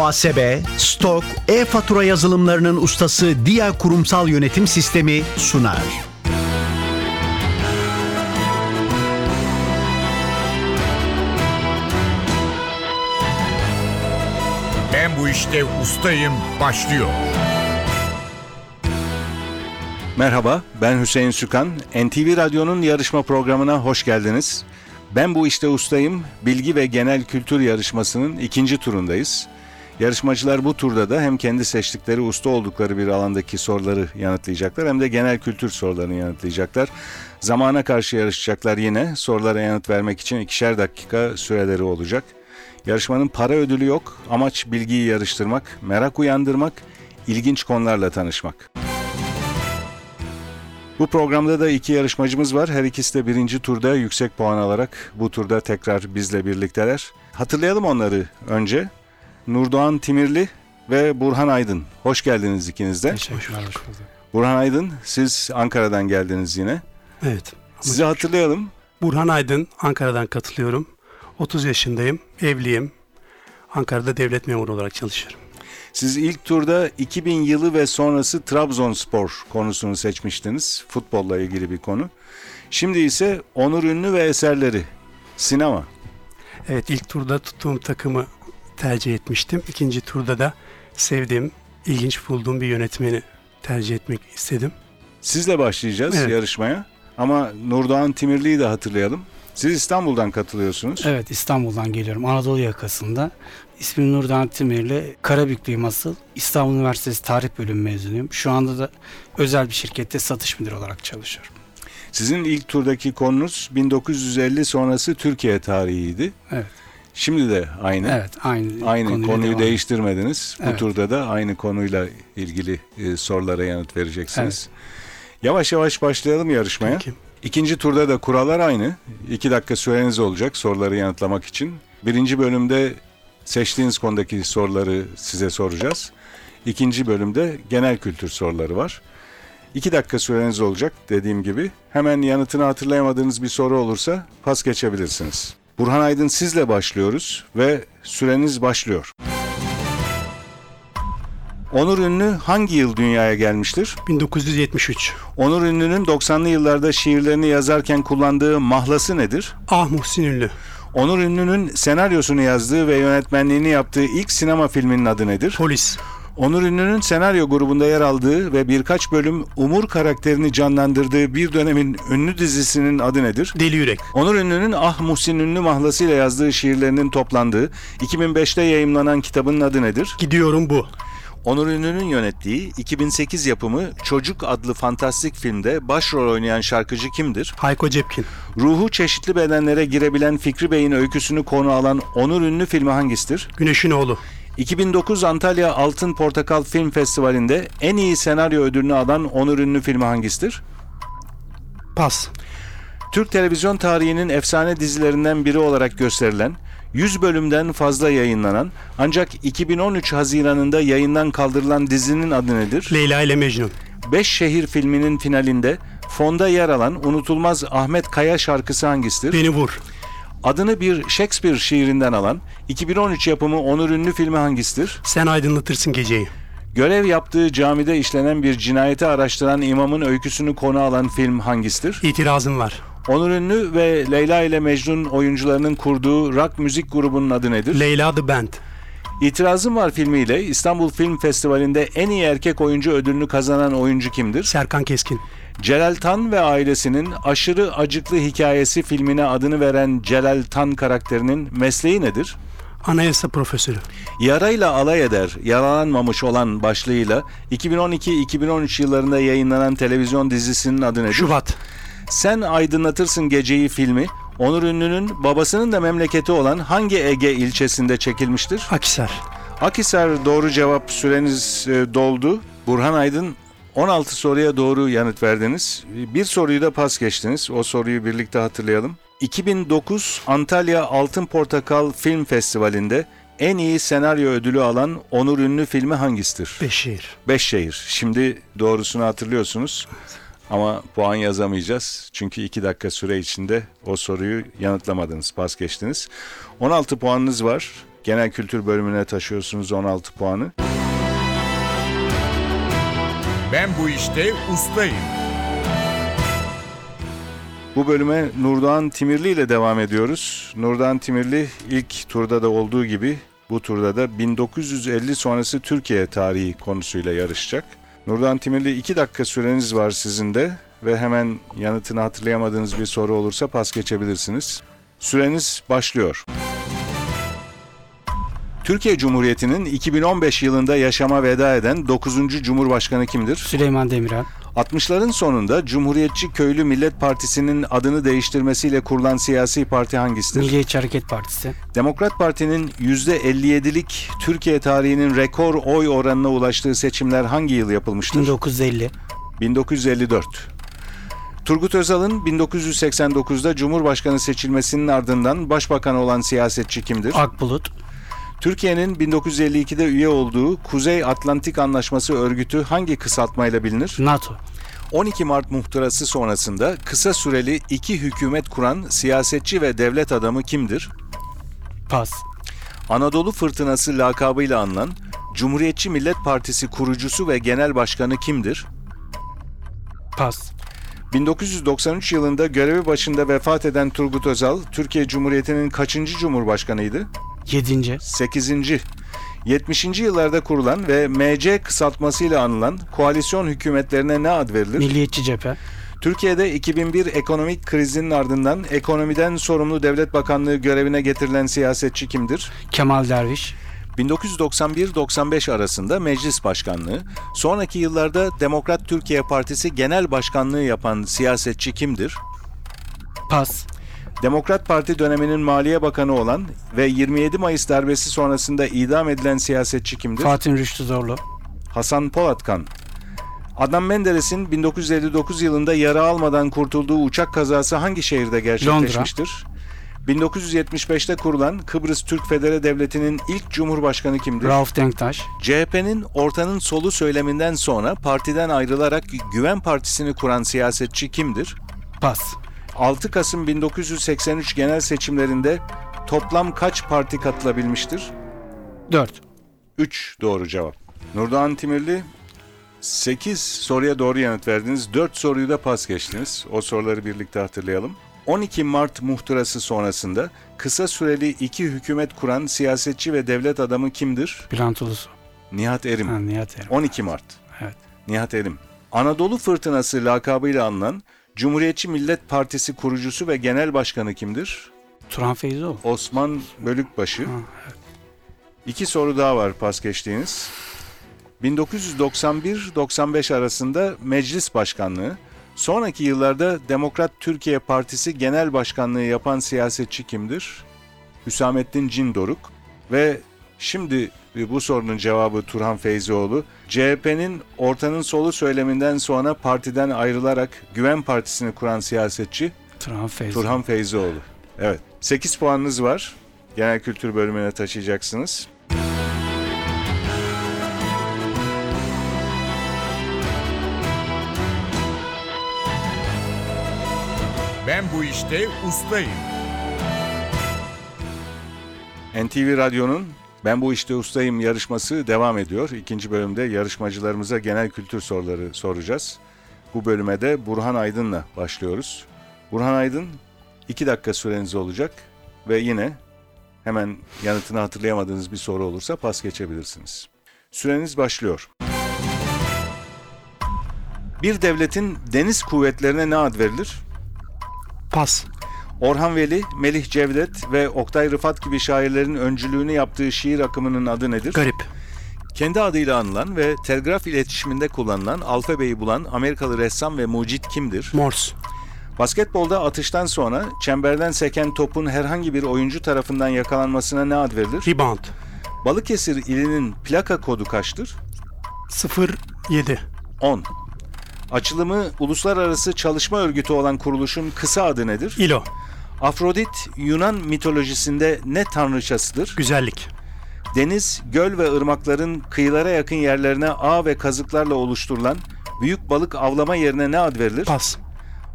muhasebe, stok, e-fatura yazılımlarının ustası Dia Kurumsal Yönetim Sistemi sunar. Ben bu işte ustayım başlıyor. Merhaba, ben Hüseyin Sükan. NTV Radyo'nun yarışma programına hoş geldiniz. Ben bu işte ustayım. Bilgi ve genel kültür yarışmasının ikinci turundayız. Yarışmacılar bu turda da hem kendi seçtikleri usta oldukları bir alandaki soruları yanıtlayacaklar hem de genel kültür sorularını yanıtlayacaklar. Zamana karşı yarışacaklar yine. Sorulara yanıt vermek için ikişer dakika süreleri olacak. Yarışmanın para ödülü yok. Amaç bilgiyi yarıştırmak, merak uyandırmak, ilginç konularla tanışmak. Bu programda da iki yarışmacımız var. Her ikisi de birinci turda yüksek puan alarak bu turda tekrar bizle birlikteler. Hatırlayalım onları önce. Nurdoğan Timirli ve Burhan Aydın. Hoş geldiniz ikiniz de. Teşekkürler. Hoş bulduk. Burhan Aydın, siz Ankara'dan geldiniz yine. Evet. Sizi hatırlayalım. Burhan Aydın, Ankara'dan katılıyorum. 30 yaşındayım, evliyim. Ankara'da devlet memuru olarak çalışıyorum. Siz ilk turda 2000 yılı ve sonrası Trabzonspor konusunu seçmiştiniz. Futbolla ilgili bir konu. Şimdi ise Onur Ünlü ve eserleri. Sinema. Evet, ilk turda tuttuğum takımı tercih etmiştim. İkinci turda da sevdiğim, ilginç bulduğum bir yönetmeni tercih etmek istedim. Sizle başlayacağız Evet. yarışmaya. Ama Nurdoğan Timirli'yi de hatırlayalım. Siz İstanbul'dan katılıyorsunuz. Evet İstanbul'dan geliyorum. Anadolu yakasında. İsmim Nurdan Timirli. Karabüklüyüm asıl. İstanbul Üniversitesi Tarih Bölümü mezunuyum. Şu anda da özel bir şirkette satış müdürü olarak çalışıyorum. Sizin ilk turdaki konunuz 1950 sonrası Türkiye tarihiydi. Evet. Şimdi de aynı. Evet aynı, Aynı konuyla konuyu devam. değiştirmediniz. Bu Evet. turda da aynı konuyla ilgili e, sorulara yanıt vereceksiniz. Yavaş yavaş başlayalım yarışmaya. Peki. İkinci turda da kurallar aynı. İki dakika süreniz olacak soruları yanıtlamak için. Birinci bölümde seçtiğiniz konudaki soruları size soracağız. İkinci bölümde genel kültür soruları var. İki dakika süreniz olacak dediğim gibi. Hemen yanıtını hatırlayamadığınız bir soru olursa pas geçebilirsiniz. Burhan Aydın sizle başlıyoruz ve süreniz başlıyor. Onur Ünlü hangi yıl dünyaya gelmiştir? 1973. Onur Ünlü'nün 90'lı yıllarda şiirlerini yazarken kullandığı mahlası nedir? Ah Muhsin Ünlü. Onur Ünlü'nün senaryosunu yazdığı ve yönetmenliğini yaptığı ilk sinema filminin adı nedir? Polis. Onur Ünlü'nün senaryo grubunda yer aldığı ve birkaç bölüm Umur karakterini canlandırdığı bir dönemin ünlü dizisinin adı nedir? Deli Yürek. Onur Ünlü'nün Ah Muhsin Ünlü mahlasıyla yazdığı şiirlerinin toplandığı 2005'te yayımlanan kitabının adı nedir? Gidiyorum bu. Onur Ünlü'nün yönettiği 2008 yapımı Çocuk adlı fantastik filmde başrol oynayan şarkıcı kimdir? Hayko Cepkin. Ruhu çeşitli bedenlere girebilen Fikri Bey'in öyküsünü konu alan Onur Ünlü filmi hangisidir? Güneşin Oğlu. 2009 Antalya Altın Portakal Film Festivali'nde en iyi senaryo ödülünü alan Onur Ünlü filmi hangisidir? Pas. Türk televizyon tarihinin efsane dizilerinden biri olarak gösterilen, 100 bölümden fazla yayınlanan ancak 2013 Haziran'ında yayından kaldırılan dizinin adı nedir? Leyla ile Mecnun. Beş Şehir filminin finalinde fonda yer alan unutulmaz Ahmet Kaya şarkısı hangisidir? Beni vur. Adını bir Shakespeare şiirinden alan 2013 yapımı Onur Ünlü filmi hangisidir? Sen aydınlatırsın geceyi. Görev yaptığı camide işlenen bir cinayeti araştıran imamın öyküsünü konu alan film hangisidir? İtirazım var. Onur Ünlü ve Leyla ile Mecnun oyuncularının kurduğu rock müzik grubunun adı nedir? Leyla The Band. İtirazım Var filmiyle İstanbul Film Festivali'nde en iyi erkek oyuncu ödülünü kazanan oyuncu kimdir? Serkan Keskin. Celal Tan ve ailesinin Aşırı Acıklı Hikayesi filmine adını veren Celal Tan karakterinin mesleği nedir? Anayasa profesörü. Yarayla alay eder, yaralanmamış olan başlığıyla 2012-2013 yıllarında yayınlanan televizyon dizisinin adı nedir? Şubat. Sen Aydınlatırsın Geceyi filmi Onur Ünlü'nün babasının da memleketi olan hangi Ege ilçesinde çekilmiştir? Akisar. Akisar doğru cevap süreniz e, doldu. Burhan Aydın 16 soruya doğru yanıt verdiniz. Bir soruyu da pas geçtiniz. O soruyu birlikte hatırlayalım. 2009 Antalya Altın Portakal Film Festivali'nde en iyi senaryo ödülü alan Onur Ünlü filmi hangisidir? Beşir. Beşşehir. Şimdi doğrusunu hatırlıyorsunuz. Ama puan yazamayacağız. Çünkü 2 dakika süre içinde o soruyu yanıtlamadınız, pas geçtiniz. 16 puanınız var. Genel kültür bölümüne taşıyorsunuz 16 puanı. Ben bu işte ustayım. Bu bölüme Nurdoğan Timirli ile devam ediyoruz. Nurdoğan Timirli ilk turda da olduğu gibi bu turda da 1950 sonrası Türkiye tarihi konusuyla yarışacak. Nurdoğan Timirli 2 dakika süreniz var sizin de ve hemen yanıtını hatırlayamadığınız bir soru olursa pas geçebilirsiniz. Süreniz başlıyor. Türkiye Cumhuriyeti'nin 2015 yılında yaşama veda eden 9. Cumhurbaşkanı kimdir? Süleyman Demirel, 60'ların sonunda Cumhuriyetçi Köylü Millet Partisi'nin adını değiştirmesiyle kurulan siyasi parti hangisidir? Milliyetçi Hareket Partisi, Demokrat Parti'nin %57'lik Türkiye tarihinin rekor oy oranına ulaştığı seçimler hangi yıl yapılmıştır? 1950, 1954. Turgut Özal'ın 1989'da Cumhurbaşkanı seçilmesinin ardından başbakan olan siyasetçi kimdir? Akbulut, Türkiye'nin 1952'de üye olduğu Kuzey Atlantik Anlaşması örgütü hangi kısaltmayla bilinir? NATO, 12 Mart muhtırası sonrasında kısa süreli iki hükümet kuran siyasetçi ve devlet adamı kimdir? PAS, Anadolu Fırtınası lakabıyla anılan Cumhuriyetçi Millet Partisi kurucusu ve genel başkanı kimdir? PAS, 1993 yılında görevi başında vefat eden Turgut Özal, Türkiye Cumhuriyeti'nin kaçıncı cumhurbaşkanıydı? 7. 8. 70. yıllarda kurulan ve MC kısaltmasıyla anılan koalisyon hükümetlerine ne ad verilir? Milliyetçi Cephe, Türkiye'de 2001 ekonomik krizinin ardından ekonomiden sorumlu devlet bakanlığı görevine getirilen siyasetçi kimdir? Kemal Derviş, 1991-95 arasında meclis başkanlığı, sonraki yıllarda Demokrat Türkiye Partisi genel başkanlığı yapan siyasetçi kimdir? PAS, Demokrat Parti döneminin maliye bakanı olan ve 27 Mayıs darbesi sonrasında idam edilen siyasetçi kimdir? Fatih Rüştü Zorlu, Hasan Polatkan. Adnan Menderes'in 1959 yılında yara almadan kurtulduğu uçak kazası hangi şehirde gerçekleşmiştir? 1975'te kurulan Kıbrıs Türk Federe Devleti'nin ilk cumhurbaşkanı kimdir? Rauf Denktaş, CHP'nin ortanın solu söyleminden sonra partiden ayrılarak Güven Partisi'ni kuran siyasetçi kimdir? PAS, 6 Kasım 1983 genel seçimlerinde toplam kaç parti katılabilmiştir? 4. 3 doğru cevap. Nurdoğan Timirli 8 soruya doğru yanıt verdiniz. 4 soruyu da pas geçtiniz. O soruları birlikte hatırlayalım. 12 Mart muhtırası sonrasında kısa süreli iki hükümet kuran siyasetçi ve devlet adamı kimdir? Bülent Ulusu, Nihat Erim. ha, Nihat Erem. 12 Mart. Evet. Nihat Erim. Anadolu Fırtınası lakabıyla anılan Cumhuriyetçi Millet Partisi kurucusu ve genel başkanı kimdir? Turan Feyzoğlu, Osman Bölükbaşı. Ha, İki soru daha var pas geçtiğiniz. 1991-95 arasında meclis başkanlığı, sonraki yıllarda Demokrat Türkiye Partisi genel başkanlığı yapan siyasetçi kimdir? Hüsamettin Cindoruk ve şimdi e, bu sorunun cevabı Turhan Feyzioğlu. CHP'nin ortanın solu söyleminden sonra partiden ayrılarak Güven Partisi'ni kuran siyasetçi Turan Feyzoğlu. Turhan Feyzioğlu. Evet. 8 puanınız var. Genel kültür bölümüne taşıyacaksınız. Ben bu işte ustayım. NTV Radyo'nun Ben Bu İşte Ustayım yarışması devam ediyor. İkinci bölümde yarışmacılarımıza genel kültür soruları soracağız. Bu bölüme de Burhan Aydın'la başlıyoruz. Burhan Aydın 2 dakika süreniz olacak ve yine hemen yanıtını hatırlayamadığınız bir soru olursa pas geçebilirsiniz. Süreniz başlıyor. Bir devletin deniz kuvvetlerine ne ad verilir? Pas. Orhan Veli, Melih Cevdet ve Oktay Rıfat gibi şairlerin öncülüğünü yaptığı şiir akımının adı nedir? Garip. Kendi adıyla anılan ve telgraf iletişiminde kullanılan alfabeyi bulan Amerikalı ressam ve mucit kimdir? Mors. Basketbolda atıştan sonra çemberden seken topun herhangi bir oyuncu tarafından yakalanmasına ne ad verilir? Rebound. Balıkesir ilinin plaka kodu kaçtır? 07. 10. Açılımı Uluslararası Çalışma Örgütü olan kuruluşun kısa adı nedir? İlo. Afrodit Yunan mitolojisinde ne tanrıçasıdır? Güzellik. Deniz, göl ve ırmakların kıyılara yakın yerlerine ağ ve kazıklarla oluşturulan büyük balık avlama yerine ne ad verilir? Pas.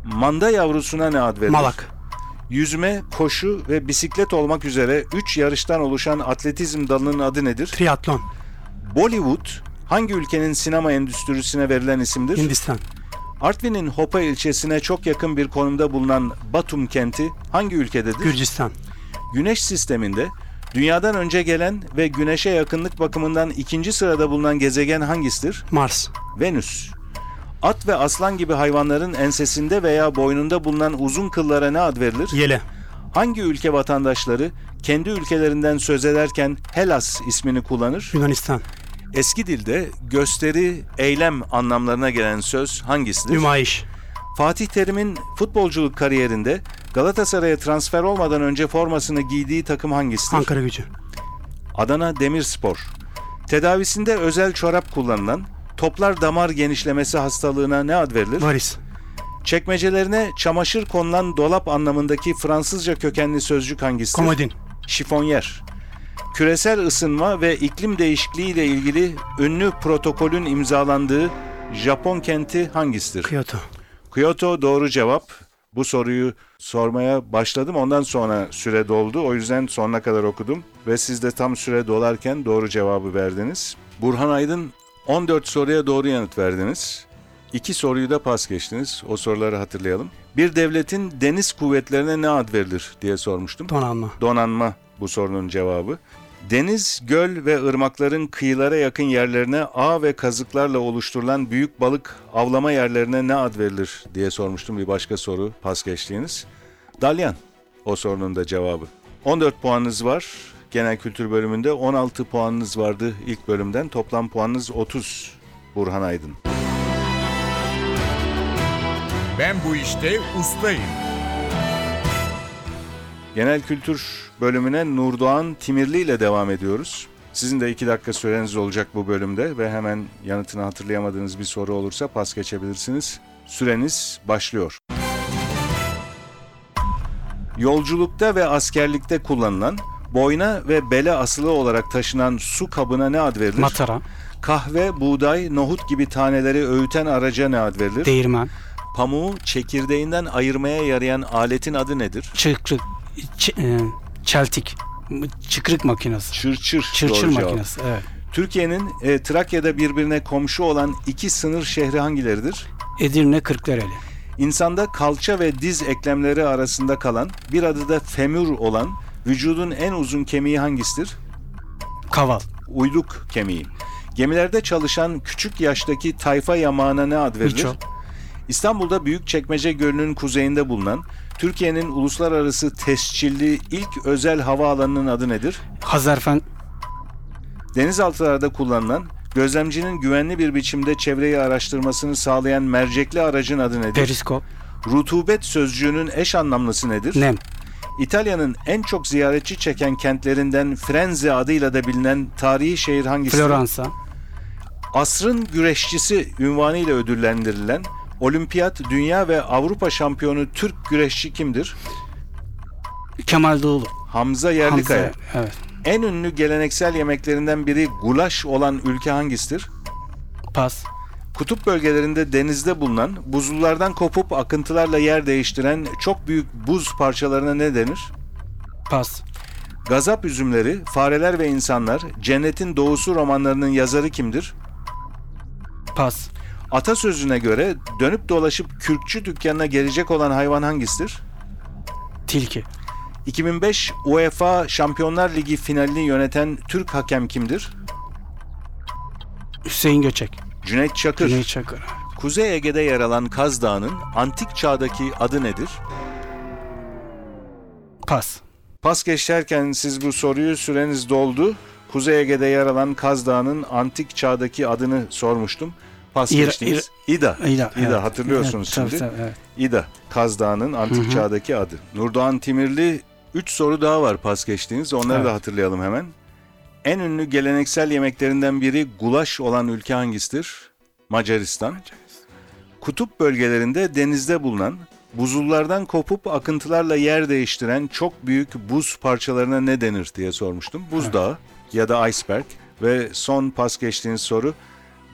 Manda yavrusuna ne ad verilir? Malak. yüzme, koşu ve bisiklet olmak üzere 3 yarıştan oluşan atletizm dalının adı nedir? Triatlon, Bollywood hangi ülkenin sinema endüstrisine verilen isimdir? Hindistan, Artvin'in Hopa ilçesine çok yakın bir konumda bulunan Batum kenti hangi ülkededir? Gürcistan, Güneş sisteminde dünyadan önce gelen ve güneşe yakınlık bakımından ikinci sırada bulunan gezegen hangisidir? Mars, Venüs. At ve aslan gibi hayvanların ensesinde veya boynunda bulunan uzun kıllara ne ad verilir? Yele, Hangi ülke vatandaşları kendi ülkelerinden söz ederken Helas ismini kullanır? Yunanistan, Eski dilde gösteri, eylem anlamlarına gelen söz hangisidir? Nümayiş, Fatih Terim'in futbolculuk kariyerinde Galatasaray'a transfer olmadan önce formasını giydiği takım hangisidir? Ankara gücü, Adana Demirspor. Tedavisinde özel çorap kullanılan toplar damar genişlemesi hastalığına ne ad verilir? Varis, Çekmecelerine çamaşır konulan dolap anlamındaki Fransızca kökenli sözcük hangisidir? Komodin, Şifonyer. Küresel ısınma ve iklim değişikliği ile ilgili ünlü protokolün imzalandığı Japon kenti hangisidir? Kyoto, Kyoto doğru cevap. Bu soruyu sormaya başladım. Ondan sonra süre doldu. O yüzden sonuna kadar okudum. Ve siz de tam süre dolarken doğru cevabı verdiniz. Burhan Aydın 14 soruya doğru yanıt verdiniz. İki soruyu da pas geçtiniz. O soruları hatırlayalım. Bir devletin deniz kuvvetlerine ne ad verilir diye sormuştum. donanma, Donanma bu sorunun cevabı. Deniz, göl ve ırmakların kıyılara yakın yerlerine ağ ve kazıklarla oluşturulan büyük balık avlama yerlerine ne ad verilir diye sormuştum bir başka soru pas geçtiğiniz. Dalyan o sorunun da cevabı. 14 puanınız var genel kültür bölümünde 16 puanınız vardı ilk bölümden toplam puanınız 30 Burhan Aydın. Ben bu işte ustayım. Genel kültür bölümüne Nurdoğan Timirli ile devam ediyoruz. Sizin de iki dakika süreniz olacak bu bölümde ve hemen yanıtını hatırlayamadığınız bir soru olursa pas geçebilirsiniz. Süreniz başlıyor. Yolculukta ve askerlikte kullanılan, boyna ve bele asılı olarak taşınan su kabına ne ad verilir? Matara, Kahve, buğday, nohut gibi taneleri öğüten araca ne ad verilir? değirmen, Pamuğu çekirdeğinden ayırmaya yarayan aletin adı nedir? çıkrık, ç- e, çeltik, m- çıkrık makinesi, Çırçır. çırçır doğru cevap. makinesi. Evet. Türkiye'nin e, Trakya'da birbirine komşu olan iki sınır şehri hangileridir? Edirne Kırklareli, İnsanda kalça ve diz eklemleri arasında kalan, bir adı da femur olan, vücudun en uzun kemiği hangisidir? Kaval, Uyluk kemiği. Gemilerde çalışan küçük yaştaki tayfa yamağına ne ad verilir? Miço. İstanbul'da Büyükçekmece Gölü'nün kuzeyinde bulunan, Türkiye'nin uluslararası tescilli ilk özel havaalanının adı nedir? Hazarfen, Denizaltılarda kullanılan, gözlemcinin güvenli bir biçimde çevreyi araştırmasını sağlayan mercekli aracın adı nedir? Periskop, Rutubet sözcüğünün eş anlamlısı nedir? Nem, İtalya'nın en çok ziyaretçi çeken kentlerinden Frenze adıyla da bilinen tarihi şehir hangisidir? Floransa, Asrın güreşçisi ünvanıyla ödüllendirilen Olimpiyat, Dünya ve Avrupa şampiyonu Türk güreşçi kimdir? Kemal Doğulu, Hamza Yerlikaya. Hamza, evet. En ünlü geleneksel yemeklerinden biri gulaş olan ülke hangisidir? Pas, Kutup bölgelerinde denizde bulunan, buzullardan kopup akıntılarla yer değiştiren çok büyük buz parçalarına ne denir? pas, Gazap üzümleri, fareler ve insanlar, Cennetin Doğusu romanlarının yazarı kimdir? pas, Atasözüne göre dönüp dolaşıp kürkçü dükkanına gelecek olan hayvan hangisidir? tilki, 2005 UEFA Şampiyonlar Ligi finalini yöneten Türk hakem kimdir? Hüseyin Göçek, Cüneyt Çakır. Güney Çakır, Kuzey Ege'de yer alan Kaz Dağı'nın antik çağdaki adı nedir? pas, Pas geçerken siz bu soruyu süreniz doldu. Kuzey Ege'de yer alan Kaz Dağı'nın antik çağdaki adını sormuştum. Pas İra- geçtiniz. İda. İda, evet. hatırlıyorsunuz Evet, şimdi. Tabii, tabii, evet. İda. Kaz Dağı'nın antik çağdaki adı. Nurdoğan Timirli 3 soru daha var pas geçtiğiniz. Onları da Evet. hatırlayalım hemen. En ünlü geleneksel yemeklerinden biri gulaş olan ülke hangisidir? Macaristan. Kutup bölgelerinde denizde bulunan, buzullardan kopup akıntılarla yer değiştiren çok büyük buz parçalarına ne denir diye sormuştum. Buzdağı ya da iceberg ve son pas geçtiğiniz soru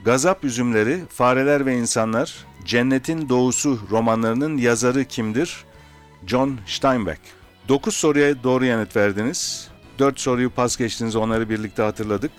Gazap üzümleri, fareler ve insanlar, Cennetin Doğusu romanlarının yazarı kimdir? John Steinbeck. 9 soruya doğru yanıt verdiniz. 4 soruyu pas geçtiniz onları birlikte hatırladık.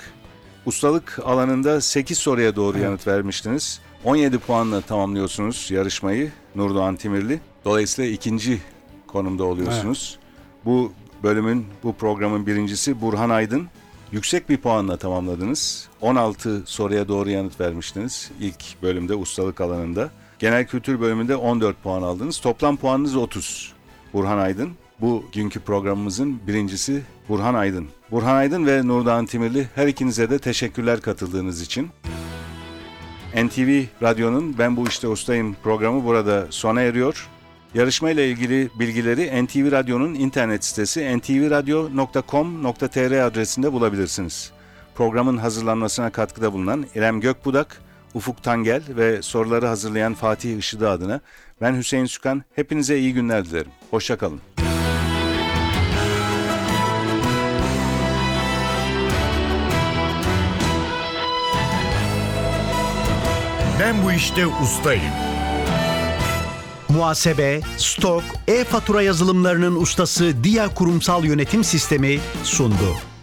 Ustalık alanında 8 soruya doğru yanıt vermiştiniz. 17 puanla tamamlıyorsunuz yarışmayı Nurdoğan Timirli. Dolayısıyla ikinci konumda oluyorsunuz. Bu bölümün, bu programın birincisi Burhan Aydın. Yüksek bir puanla tamamladınız. 16 soruya doğru yanıt vermiştiniz ilk bölümde ustalık alanında. Genel kültür bölümünde 14 puan aldınız. Toplam puanınız 30. Burhan Aydın. Bu günkü programımızın birincisi Burhan Aydın. Burhan Aydın ve Nurdan Timirli her ikinize de teşekkürler katıldığınız için. NTV Radyo'nun Ben Bu İşte Ustayım programı burada sona eriyor. Yarışma ile ilgili bilgileri NTV Radyo'nun internet sitesi ntvradio.com.tr adresinde bulabilirsiniz. Programın hazırlanmasına katkıda bulunan İrem Gökbudak, Ufuk Tangel ve soruları hazırlayan Fatih Işıdı adına ben Hüseyin Sükan. Hepinize iyi günler dilerim. Hoşçakalın. Ben bu işte ustayım. Muhasebe, stok, e-fatura yazılımlarının ustası Dia Kurumsal Yönetim Sistemi sundu.